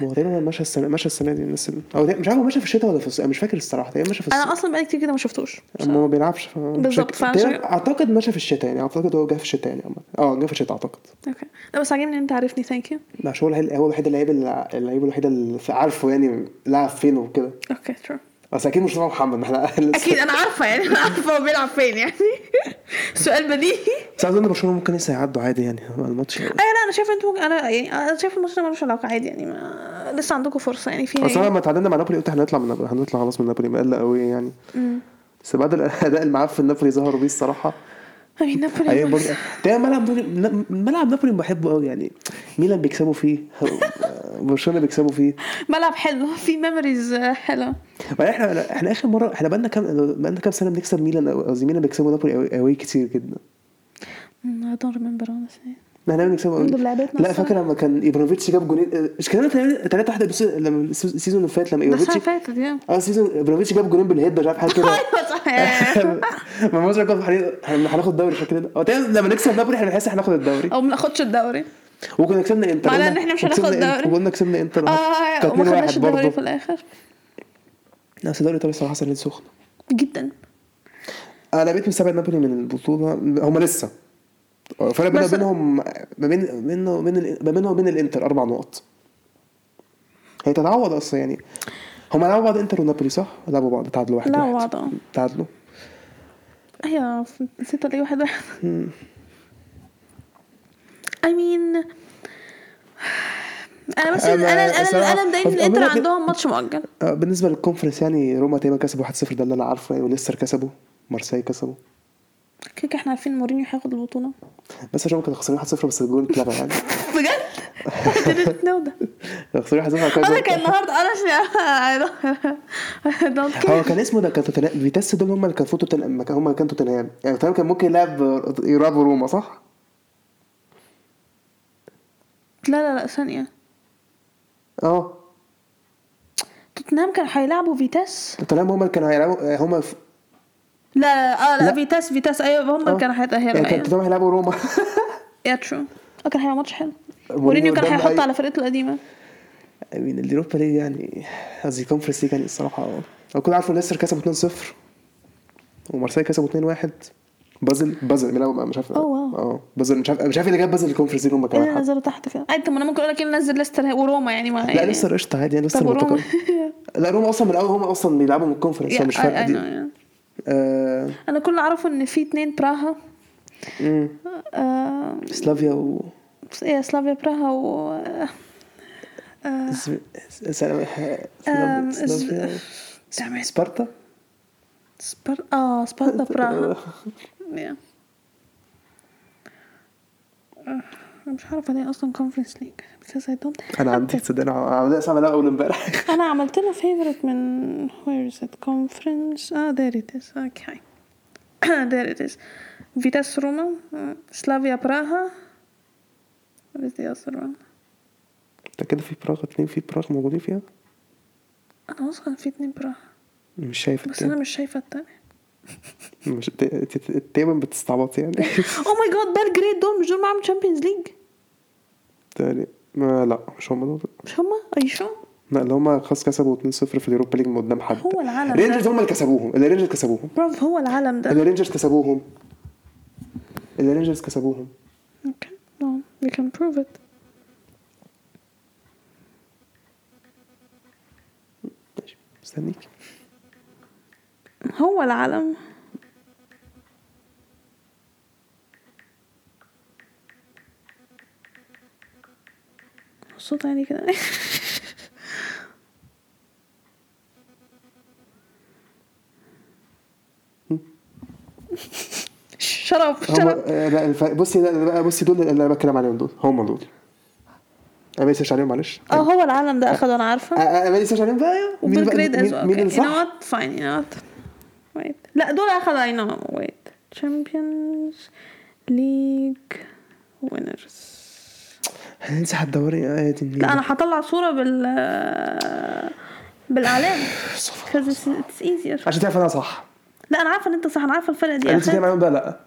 ما هو تقريبا مشى السنه مشى السنه دي الناس اللي- او تقريباً- مش عارف هو مشى في الشتاء ولا في الصيف أنا مش فاكر الصراحه تقريبا مشى في الصيف انا اصلا بقالي كتير كده ما شفتوش ما ما بيلعبش ف- مش بالظبط، فاكر. فعشان- تقريباً اعتقد مشى في الشتاء يعني اعتقد هو جه في الشتاء يعني عامة. اه جه في الشتاء اعتقد اوكي لا بس عاجبني إن انت عارفني ثانك يو لا مش هو الوحيد هو الوحيد اللعيب اللي- اللعيب الوحيد اللي عارفه يعني لعب فين وكده اوكي ترو بس اكيد مش مصطفى محمد ما احنا (laughs) لسه- اكيد انا عارفه يعني انا عارفه هو بيلعب فين يعني (laughs) سؤال بديهي بس اظن برشلونه ممكن لسه يعدوا عادي يعني الماتش إيه، اي لا انا شايفه انتوا ممكن انا يعني انا شايفه الماتش ده ملوش علاقه عادي يعني ما لسه لسه عندكم فرصه يعني فيها اصل أنا يعني. لما اتعادلنا مع نابولي قلت احنا هنطلع من نابولي هنطلع خلاص من نابولي مقلق قوي يعني مم. بس بعد (laughs) الاداء المعفن نابولي ظهروا بيه الصراحه امين اي نابولي برضه بس. ده ملعب نابولي ملعب نابولي بحبه قوي يعني ميلان بيكسبوا فيه (laughs) برشلونه بيكسبوا فيه (laughs) ملعب حلو في ميموريز حلوه بعدين احنا احنا اخر مره احنا بقالنا كام بقالنا كام سنه بنكسب ميلان أو- قصدي ميلان بيكسبوا نابولي قوي- قوي كتير جدا I don't remember honestly احنا بنكسبوا قوي الحمد لله لعبتنا لا الصراحة. فاكر لما كان ايبرانوفيتش جاب جونين مش كان 3 1 لما السيزون السيزون اللي فات لما ده السنه اللي ايبرانوفيتش فاتت يا اه السيزون ايبرانوفيتش جاب جونين بالهيد مش عارف حاجه (laughs) كده ايوه (laughs) صحيح ما مصر كنا هن- هن- هناخد الدوري شكل ده هو تقريباً لما نكسب نابولي احنا بنحس احنا هناخد الدوري او ما ناخدش الدوري وكنا كسبنا انتر معناه قلنا- ان إحنا مش وكسبنا هناخد إنتر- الدوري. وقلنا كسبنا انتر اه كانت وما 2-1 خدناش الدوري برضه. في الاخر لا، بس الدوري الايطالي الصراحه سنه سخنه جدا انا بقيت مستبعد نابولي من البطوله هم لسه الفرق بيننا بس- بينهم ما بين بينه وبين ال- ما بينهم وبين الانتر اربع نقط هي تتعوض اصلا يعني هم لعبوا بعض انتر ونابولي صح؟ لعبوا بعض تعادلوا واحد لا واحد بعض اه تعادلوا ايوه نسيت الاقي واحد واحد I mean انا بس أنا- انا انا الصراحة- انا مضايقني ان أنا- الانتر أنا- عندهم ماتش مؤجل آه، بالنسبه للكونفرنس يعني روما تقريبا كسبوا 1-0 ده اللي انا عارفه يعني وليستر كسبوا مارسيليا كسبوا كيك احنا عارفين مورينيو هياخد البطوله بس عشان كانوا خسرانين 1-0 بس الجول اتلغى يعني (laughs) بجد I didn't know that. كانوا خسرانين 1-0 على كذا. انا كان النهارده انا (laughs) مش I don't هو care كان اسمه ده كان توتنهام فيتاس دول هم اللي كانوا فوتوا توتن- ما كان- هم اللي كانوا توتنهام يعني توتنهام كان ممكن يلعب يلعب روما صح؟ لا لا لا ثانيه اه توتنهام كانوا هيلعبوا فيتاس توتنهام هم اللي كانوا هيلعبوا هم في- لا لا اه لا, لا. فيتاس فيتاس ايوه هم اللي آه. كانوا يعني هيتاهلوا كان ايوه توتنهام هيلعبوا روما (laughs) يا ترو اه كان هيبقى ماتش حلو مورينيو مورينيو كان قدام هيحط أي- على فرقته القديمه من اليوروبا ليج يعني قصدي الكونفرنس ليج يعني الصراحه لو كنت عارفه ليستر كسبوا 2-0 ومارسيليا كسبوا 2-1 بازل بازل بيلعبوا مش عارف أوه، واو. اه بازل مش عارف مش عارف اللي جاب بازل الكونفرنس ليج هم ايه كمان اللي حد. نزلوا تحت كده عادي طب ما انا ممكن اقول لك ايه اللي نزل ليستر وروما يعني ما لا يعني ليستر قشطه عادي يعني ليستر طب وروما (laughs) متقدم لا روما اصلا من الاول هم اصلا بيلعبوا من الكونفرنس Yeah, فمش I- فارقه I دي know, yeah. آه، انا كل اللي اعرفه ان في اتنين براها أمم. آه، سلافيا و ايه سلافيا براها و آه، آه، س- س- سلافيا- آم، سلافيا و- دعم اسم- سبارتا سبار اه (laughs) سبارتا براها Yeah. آه، أنا مش عارفه ليه اصلا كونفرنس ليج because I don't have انا عندي it. تصدق انا عملت اسمع اول امبارح (laughs) انا عملت لها فيفورت من where is it conference اه there it is okay (coughs) there it is فيتاس روما سلافيا براها what is the other one ده كده في براغ اتنين في براغ موجودين فيها انا واثقه إن في اتنين براها مش شايف بس انا مش شايفه التانية مش تقريبا (laughs) بتستعبط يعني او ماي جاد بلجريد دول مش دول معاهم تشامبيونز ليج تاني ما لا مش هم دول مش هما اي شو لا اللي هم خلاص كسبوا 2-0 في اليوروبا ليج من قدام حد هو العالم ده. رينجرز هم اللي كسبوهم اللي رينجرز كسبوهم برافو هو العالم ده اللي رينجرز كسبوهم اللي رينجرز كسبوهم okay no we can prove it ماشي مستنيك هو العالم صوت عالي يعني كده شرب هم شرب آه، لا الف- بصي لا لا، بصي دول اللي انا بتكلم عليهم دول هم دول انا ما عليهم معلش اه هو العالم ده اخد انا عارفه انا ما عليهم بقى مين وبيل بقى- جريد مين- از مين اللي اوكي يو نو صح؟ وات فاين يو نو وات ويت لا دول اخذوا اي نو ويت تشامبيونز ليج وينرز هننسى هتدوري ايه دي لا انا هطلع صوره بال (sighs) بالاعلام because it's, it's easier عشان تعرف انا صح لا انا عارفه ان انت صح انا عارفه الفرق دي انت بتتكلم عشان عنهم بقى لا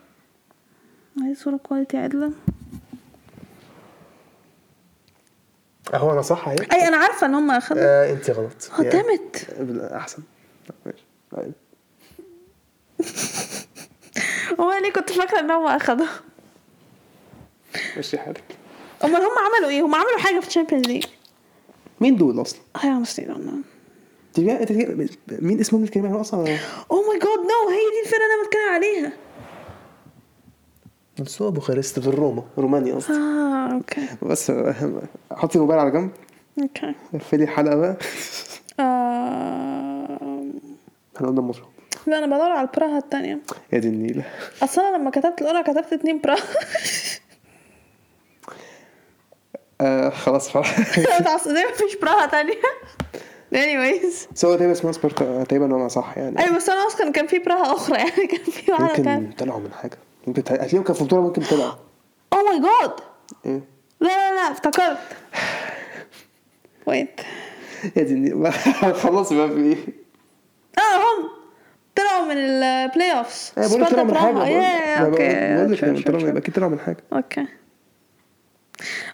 هي صوره كواليتي عدله هو انا صح اهي اي انا عارفه ان هم اخذوا آه، انت غلط اه يعني- دامت احسن طب ماشي طيب. هو ليه كنت فاكره ان هم اخذوا ماشي حالك امال هم عملوا ايه هم عملوا حاجه في الشامبيونز ليج مين دول اصلا؟ I honestly don't know انت بقى- انت بقى- مين اسمهم اللي بتتكلم عنهم اصلا؟ Oh my god no هي دي الفرقه اللي انا بتكلم عليها نسوا بوخارست بالروما رومانيا اصلا اه اوكي بس آه، حطي الموبايل على جنب اوكي قفلي الحلقه بقى آه... احنا قلنا مصر لا انا بدور على البراها التانية يا دي النيله اصل انا لما كتبت الاولى كتبت اتنين (laughs) براها آه خلاص (laughs) خلاص ازاي مفيش براها تانية anyways سواء تقريبا اسمها سبارتا تقريبا انا صح يعني ايوه بس انا اصلا كان في براها اخرى يعني كان في واحدة تانية يمكن طلعوا من حاجه يمكن تق- هتلاقيهم كان في بطوله ممكن طلعوا اوه ماي جاد ايه Oh لا لا لا افتكرت ويت يا دي النيله (laughs) خلاص بقى في ايه اه هم طلعوا من البلاي اوفس انا بقول لك إيه، طلعوا من حاجه بقول- يا بقول- بقول اوكي لك طلعوا sure, sure, يبقى sure. اكيد طلعوا من حاجه اوكي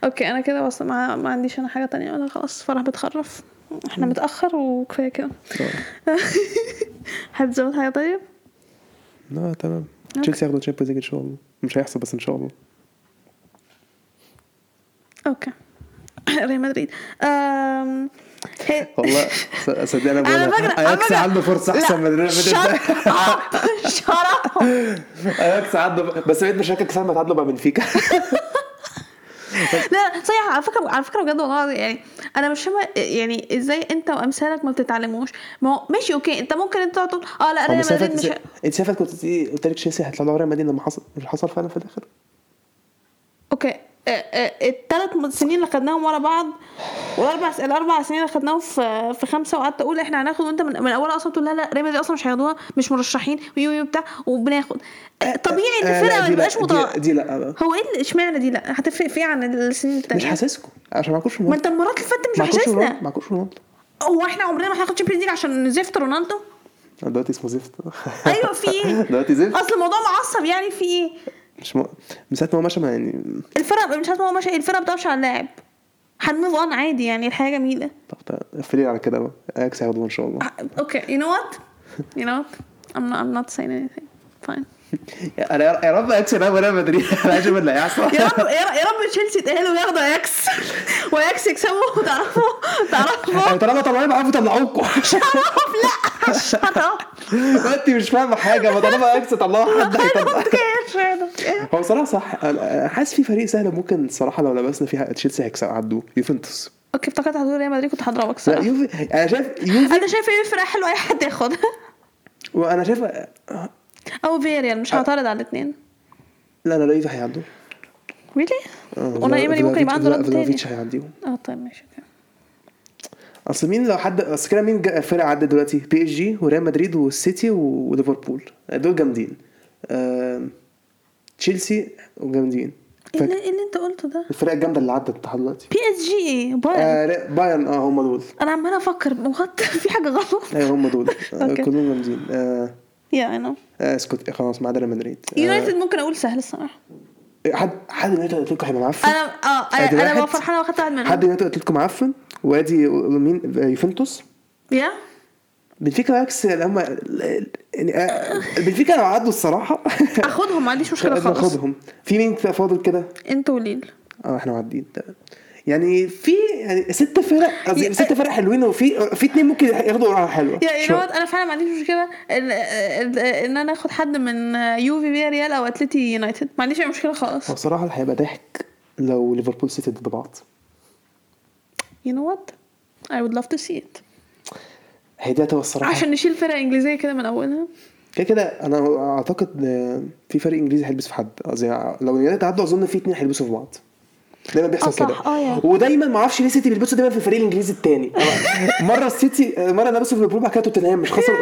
اوكي انا كده بس ما, ما عنديش انا حاجه تانية انا خلاص فرح بتخرف احنا متاخر وكفايه كده (laughs) حابب تزود حاجه طيب لا تمام تشيلسي ياخدوا تشامبيونز ليج ان شاء الله مش هيحصل بس ان شاء الله اوكي (coughs) ريال مدريد أم... هي- (laughs) والله ص- صدق انا على بقول فكرة- على اياكس فكرة- عنده فرصه لا، احسن من ريال (laughs) مدريد shut up. shut up. اياكس عنده بس بقيت مشاكك ساعه ما تعادلوا مع بنفيكا لا لا، صحيح على فكره على فكره بجد والله يعني انا مش فاهمه يعني ازاي انت وامثالك ما بتتعلموش ما هو ماشي اوكي انت ممكن انت تقعد تقول اه لا ريال مدريد مش ه- انت شايفه كنت تقولي- قلت لك تشيلسي هيطلعوا ريال مدريد لما حصل مش حصل فعلا في الاخر اوكي الثلاث آه، سنين اللي خدناهم ورا بعض والاربع س- الاربع سنين اللي خدناهم في في خمسه وقعدت اقول احنا هناخد وانت من, من اول اصلا تقول لا لا ريال مدريد اصلا مش هياخدوها مش مرشحين ويو يو بتاع وبناخد آه، طبيعي ان آه، الفرقه لا، ما دي لا، تبقاش دي- متوقعه دي لا آه، بقى. هو ايه اللي- اشمعنى دي لا هتفرق في ايه عن السنين مش التانيه حاسسكم عشان معكوش ما رونالدو انت المرات اللي فاتت مش معكوش رونالدو وحشتنا معكوش رونالدو هو احنا عمرنا ما هناخد تشامبيونز ليج عشان نزفت (laughs) رونالدو أنا آه، دلوقتي اسمه زفت ايوه (laughs) في ايه دلوقتي زفت اصل الموضوع معصب يعني في ايه مش م... من ساعه ما هو مشى ما يعني الفرقه مش عارفه هو ماشي الفرقه بتمشي على اللاعب هنموف اون عادي يعني الحياه جميله طب تعالى، قفلي على كده بقى اياكس هياخدوها ان شاء الله اوكي يو نو وات يو نو وات I'm not, I'm not saying anything fine انا يا يا رب اياكس يلعب ريال مدريد (laughs) انا عايز اشوف اللي هيحصل يا رب يا رب, يا رب تشيلسي يتأهلوا وياخدوا (laughs) اياكس واياكس يكسبوا تعرفوا تعرفوا يعني (laughs) طالما طلعوني بعرف اطلعوكم (laughs) (laughs) هتعرفوا انت مش فاهمه حاجه ما طالما اياكس طلعوا حد هيطلع هو صراحه صح أنا حاسس في فريق سهل ممكن الصراحه لو لبسنا فيها تشيلسي هيكسب عدوه يوفنتوس اوكي افتكرت هتقول ريال مدريد كنت هضربك لا الصراحه يوفي انا شايف يوفي انا شايفه ايه فرقه حلوه اي حد (laughs) ياخدها وانا شايف لا او فيريال مش هعترض على الاثنين انا لا يوفي هيعدوا ريلي؟ آه، والله ايمن ممكن يبقى عنده رد تاني فلافيتش هيعديهم اه طيب ماشي اوكي اصل مين لو حد اصل كده مين جا- فرقه عدت دلوقتي بي اس جي وريال مدريد والسيتي و- وليفربول دول جامدين آم، تشيلسي وجامدين ايه فاك- اللي, إيه اللي انت قلته ده؟ الفرقه الجامده اللي عدت لحد دلوقتي بي اس جي ايه؟ بايرن آه، لا، بايرن اه هم دول انا عماله افكر مغطى (laughs) في حاجه غلط ايوه هم دول (laughs) آه، أوكي. كلهم جامدين آه، يا انا آه، اسكت خلاص ما عدا ريال مدريد آه، إيه، يونايتد ممكن اقول سهل الصراحه حد حد يونايتد اتلتيكو هيبقى معفن انا اه أدي انا انا واحد. فرحانه واخدت واحد منهم حد يونايتد اتلتيكو معفن وادي مين آه، يوفنتوس يا بنفيكا عكس لما يعني آه، بنفيكا لو عدوا الصراحه (laughs) اخدهم ما عنديش (laughs) مشكله خالص ناخدهم في مين فاضل كده انت وليل اه احنا معديين تمام يعني في يعني ست فرق قصدي يا- ست فرق حلوين وفي في اتنين ممكن ياخدوا قرعه حلوه يا يو شوية. انا فعلا ما عنديش مشكله ال- ال- ان انا اخد حد من يوفي فيا ريال او اتلتي يونايتد ما عنديش اي مشكله خالص هو صراحه اللي هيبقى ضحك لو ليفربول سيتي ضد بعض يو نو وات اي would love to see it هي دي هتبقى الصراحه عشان نشيل فرقه انجليزيه كده من اولها كده كده انا اعتقد إن في فريق انجليزي هيلبس في حد قصدي لو اليونايتد عدوا اظن في اتنين هيلبسوا في بعض دايما آه بيحصل صح، كده آه يا. ودايما ما اعرفش ليه سيتي بيلبسوا دايما في الفريق (laughs) الانجليزي التاني مره السيتي مره لبسوا في ليفربول بعد كده توتنهام مش خسر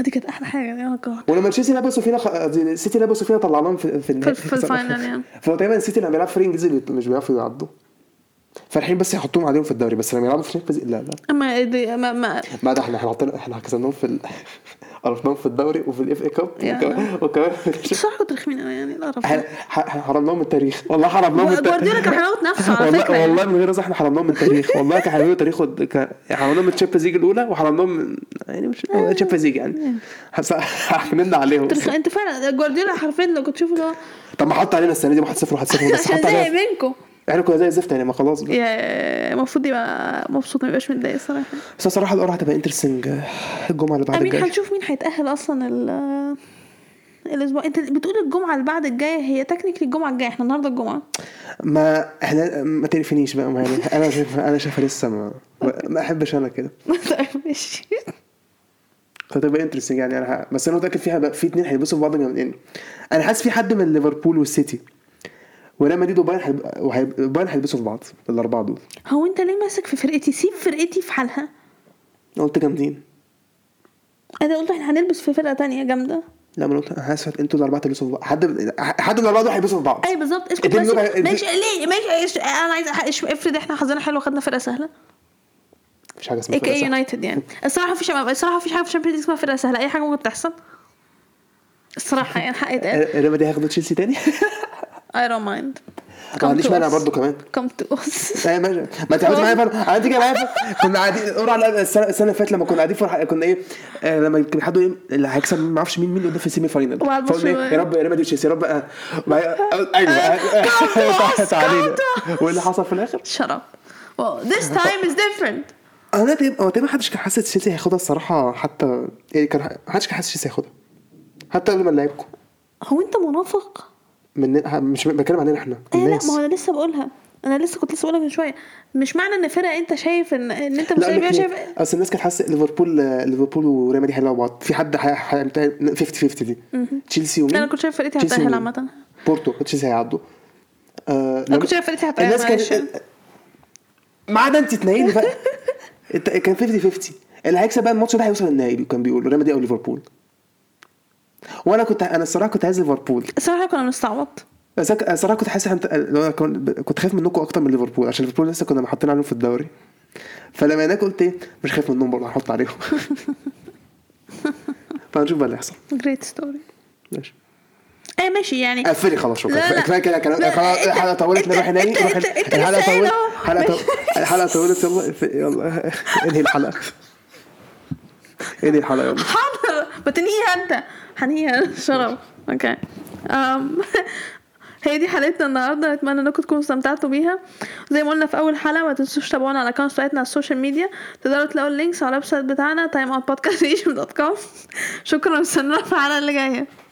دي كانت Oh احلى حاجه يا جاد (laughs) ولما تشيلسي لبسوا فينا خ... قصدي السيتي لبسوا فينا طلعناهم في في, النهائي. في الفاينل يعني. فدايما السيتي لما بيلعب فريق انجليزي بي- مش بيعرفوا يعدوا فرحين بس يحطوهم عليهم في الدوري بس لما يلعبوا فريق بز... لا لا اما (laughs) دي ما ما ما ده احنا احنا حطينا احنا كسبناهم في ال... (laughs) عرفناهم في الدوري وفي الاف اي كاب يا. وكمان- وكمان بصراحه كنت رخمين قوي يعني القرف احنا ده. ح- ح- حرمناهم من التاريخ والله حرمناهم من التاريخ (laughs) جوارديولا كان هيموت نفسه على فكره والله, يعني. والله من غير رزق احنا حرمناهم من التاريخ والله كان هيعملوا تاريخ ود- كان- حرمناهم من الشامبيونز ليج الاولى وحرمناهم من يعني مش آه. الشامبيونز ليج يعني حس- حكمنا عليهم ترخ- انت فعلا جوارديولا حرفيا لو كنت تشوفه اللي هو طب ما حط علينا السنه دي 1-0 1-0 إيه، (laughs) بس عشان حط زهق علينا منكم احنا كنا زي الزفت يعني ما خلاص بقى. يا- المفروض يبقى مبسوط ما يبقاش متضايق الصراحه بس الصراحه القرعه هتبقى انترستنج الجمعه آه، اللي بعد امين الجايه هنشوف مين هيتاهل اصلا ال الاسبوع انت بتقول الجمعه اللي بعد الجايه هي تكنيكلي الجمعه الجايه احنا النهارده الجمعه ما احنا ما تقرفنيش بقى ما يعني انا شايف انا شايفها لسه ما ما احبش انا كده (laughs) طيب ماشي فتبقى انترستنج يعني انا ه- بس انا متاكد في هبقى في اتنين هيلبسوا في بعض جامد يعني انا حاسس في حد من ليفربول والسيتي وريال مدريد وبايرن هيب- وهيب- وبايرن هيلبسوا في بعض الاربعه دول هو انت ليه ماسك في فرقتي سيب فرقتي في حالها أنا قلت جامدين انا قلت احنا هنلبس في فرقه تانية جامده لا ما أنا قلت انا حاسس انتوا الاربعه هيلبسوا في بعض حد حد من الاربعه دول هيلبسوا في بعض اي بالظبط اسكت اتنين بس دول هي- ماشي ليه ماشي إيش- انا عايزه أح- إيش- افرض احنا حظنا حلو خدنا فرقه سهله مفيش حاجه اسمها اي كي فرقة سهلة. يونايتد يعني الصراحه مفيش الصراحه مفيش حاجه في الشامبيونز اسمها فرقه سهله اي حاجه ممكن تحصل الصراحه يعني حق (laughs) يتقال ريال مدريد هياخدوا تشيلسي تاني اي دونت مايند ما عنديش مانع برضو كمان كم تو (laughs) اس ايه ماشي ما تقعدش معايا فرق عادي كده معايا فرق كنا قاعدين قرا على السنه السنة اللي فاتت لما كنا قاعدين فرح كنا ايه آه لما كان حد يقول إيه اللي هيكسب ما اعرفش مين مين قدام في السيمي فاينل وبعد فقلنا برشلونة. إيه، يا رب ريال مدريد تشيلسي يا رب آه، ما- آه، ايوه آه، تعالينا وايه اللي حصل في الاخر؟ شرب واو (laughs) ذس تايم از ديفرنت هو ده تقريبا هو تقريبا محدش كان حاسس تشيلسي هياخدها الصراحه حتى يعني كان محدش كان حاسس تشيلسي هياخدها حتى قبل ما نلعبكم هو انت منافق؟ من مش بتكلم علينا احنا ايه لا الناس ما هو انا لسه بقولها انا لسه كنت لسه بقولها من شويه مش معنى ان فرقه انت شايف ان ان انت مش لا شايف إيه، لك شايف ليه؟ اصل الناس كانت حاسه ليفربول ليفربول وريال مدريد هيلعبوا بعض في حد هي- هيمتحن 50 50 دي تشيلسي ومين لا، انا كنت شايف فرقتي تشيلسي هتأهل ومين؟ عامه بورتو تشيلسي هيعدوا آه لما- كنت شايف فرقتي هتأهل، الناس معلش. كانت ما عدا انت اتنين بقى انت كان 50 50 اللي هيكسب بقى الماتش ده هيوصل النهائي كان بيقول ريال مدريد او ليفربول وانا كنت انا الصراحه كنت عايز ليفربول الصراحه كنا بنستعبط بس أنا الصراحه كنت حاسس حنت... لو أنا كنت كنت خايف منكم اكتر من ليفربول عشان ليفربول لسه كنا محطين عليهم في الدوري فلما هناك قلت ايه مش خايف منهم برضه هحط عليهم (laughs) فهنشوف بقى اللي هيحصل جريت ستوري ماشي ايه ماشي يعني قفلي خلاص لا، لا. شكرا كفايه كده كلام لا، خلاص أنت- الحلقه طولت أنت- نروح ننام أنت- نروح- أنت- أنت الحلقه لسه قايل طولت أهو. الحلقه طولت الحلقه طولت يلا في- يلا (laughs) انهي الحلقه (laughs) انهي الحلقه يلا حاضر ما تنهيها انت هنهيها (laughs) شرف اوكي أم، (laughs) هي دي حلقتنا النهارده نتمنى انكم تكونوا استمتعتوا بيها زي ما قلنا في اول حلقه ما تنسوش تتابعونا على الاكونت بتاعتنا على السوشيال ميديا تقدروا تلاقوا (laughs) اللينكس على الويب سايت بتاعنا timeoutpodcast.com شكرا واستنونا في الحلقه اللي جايه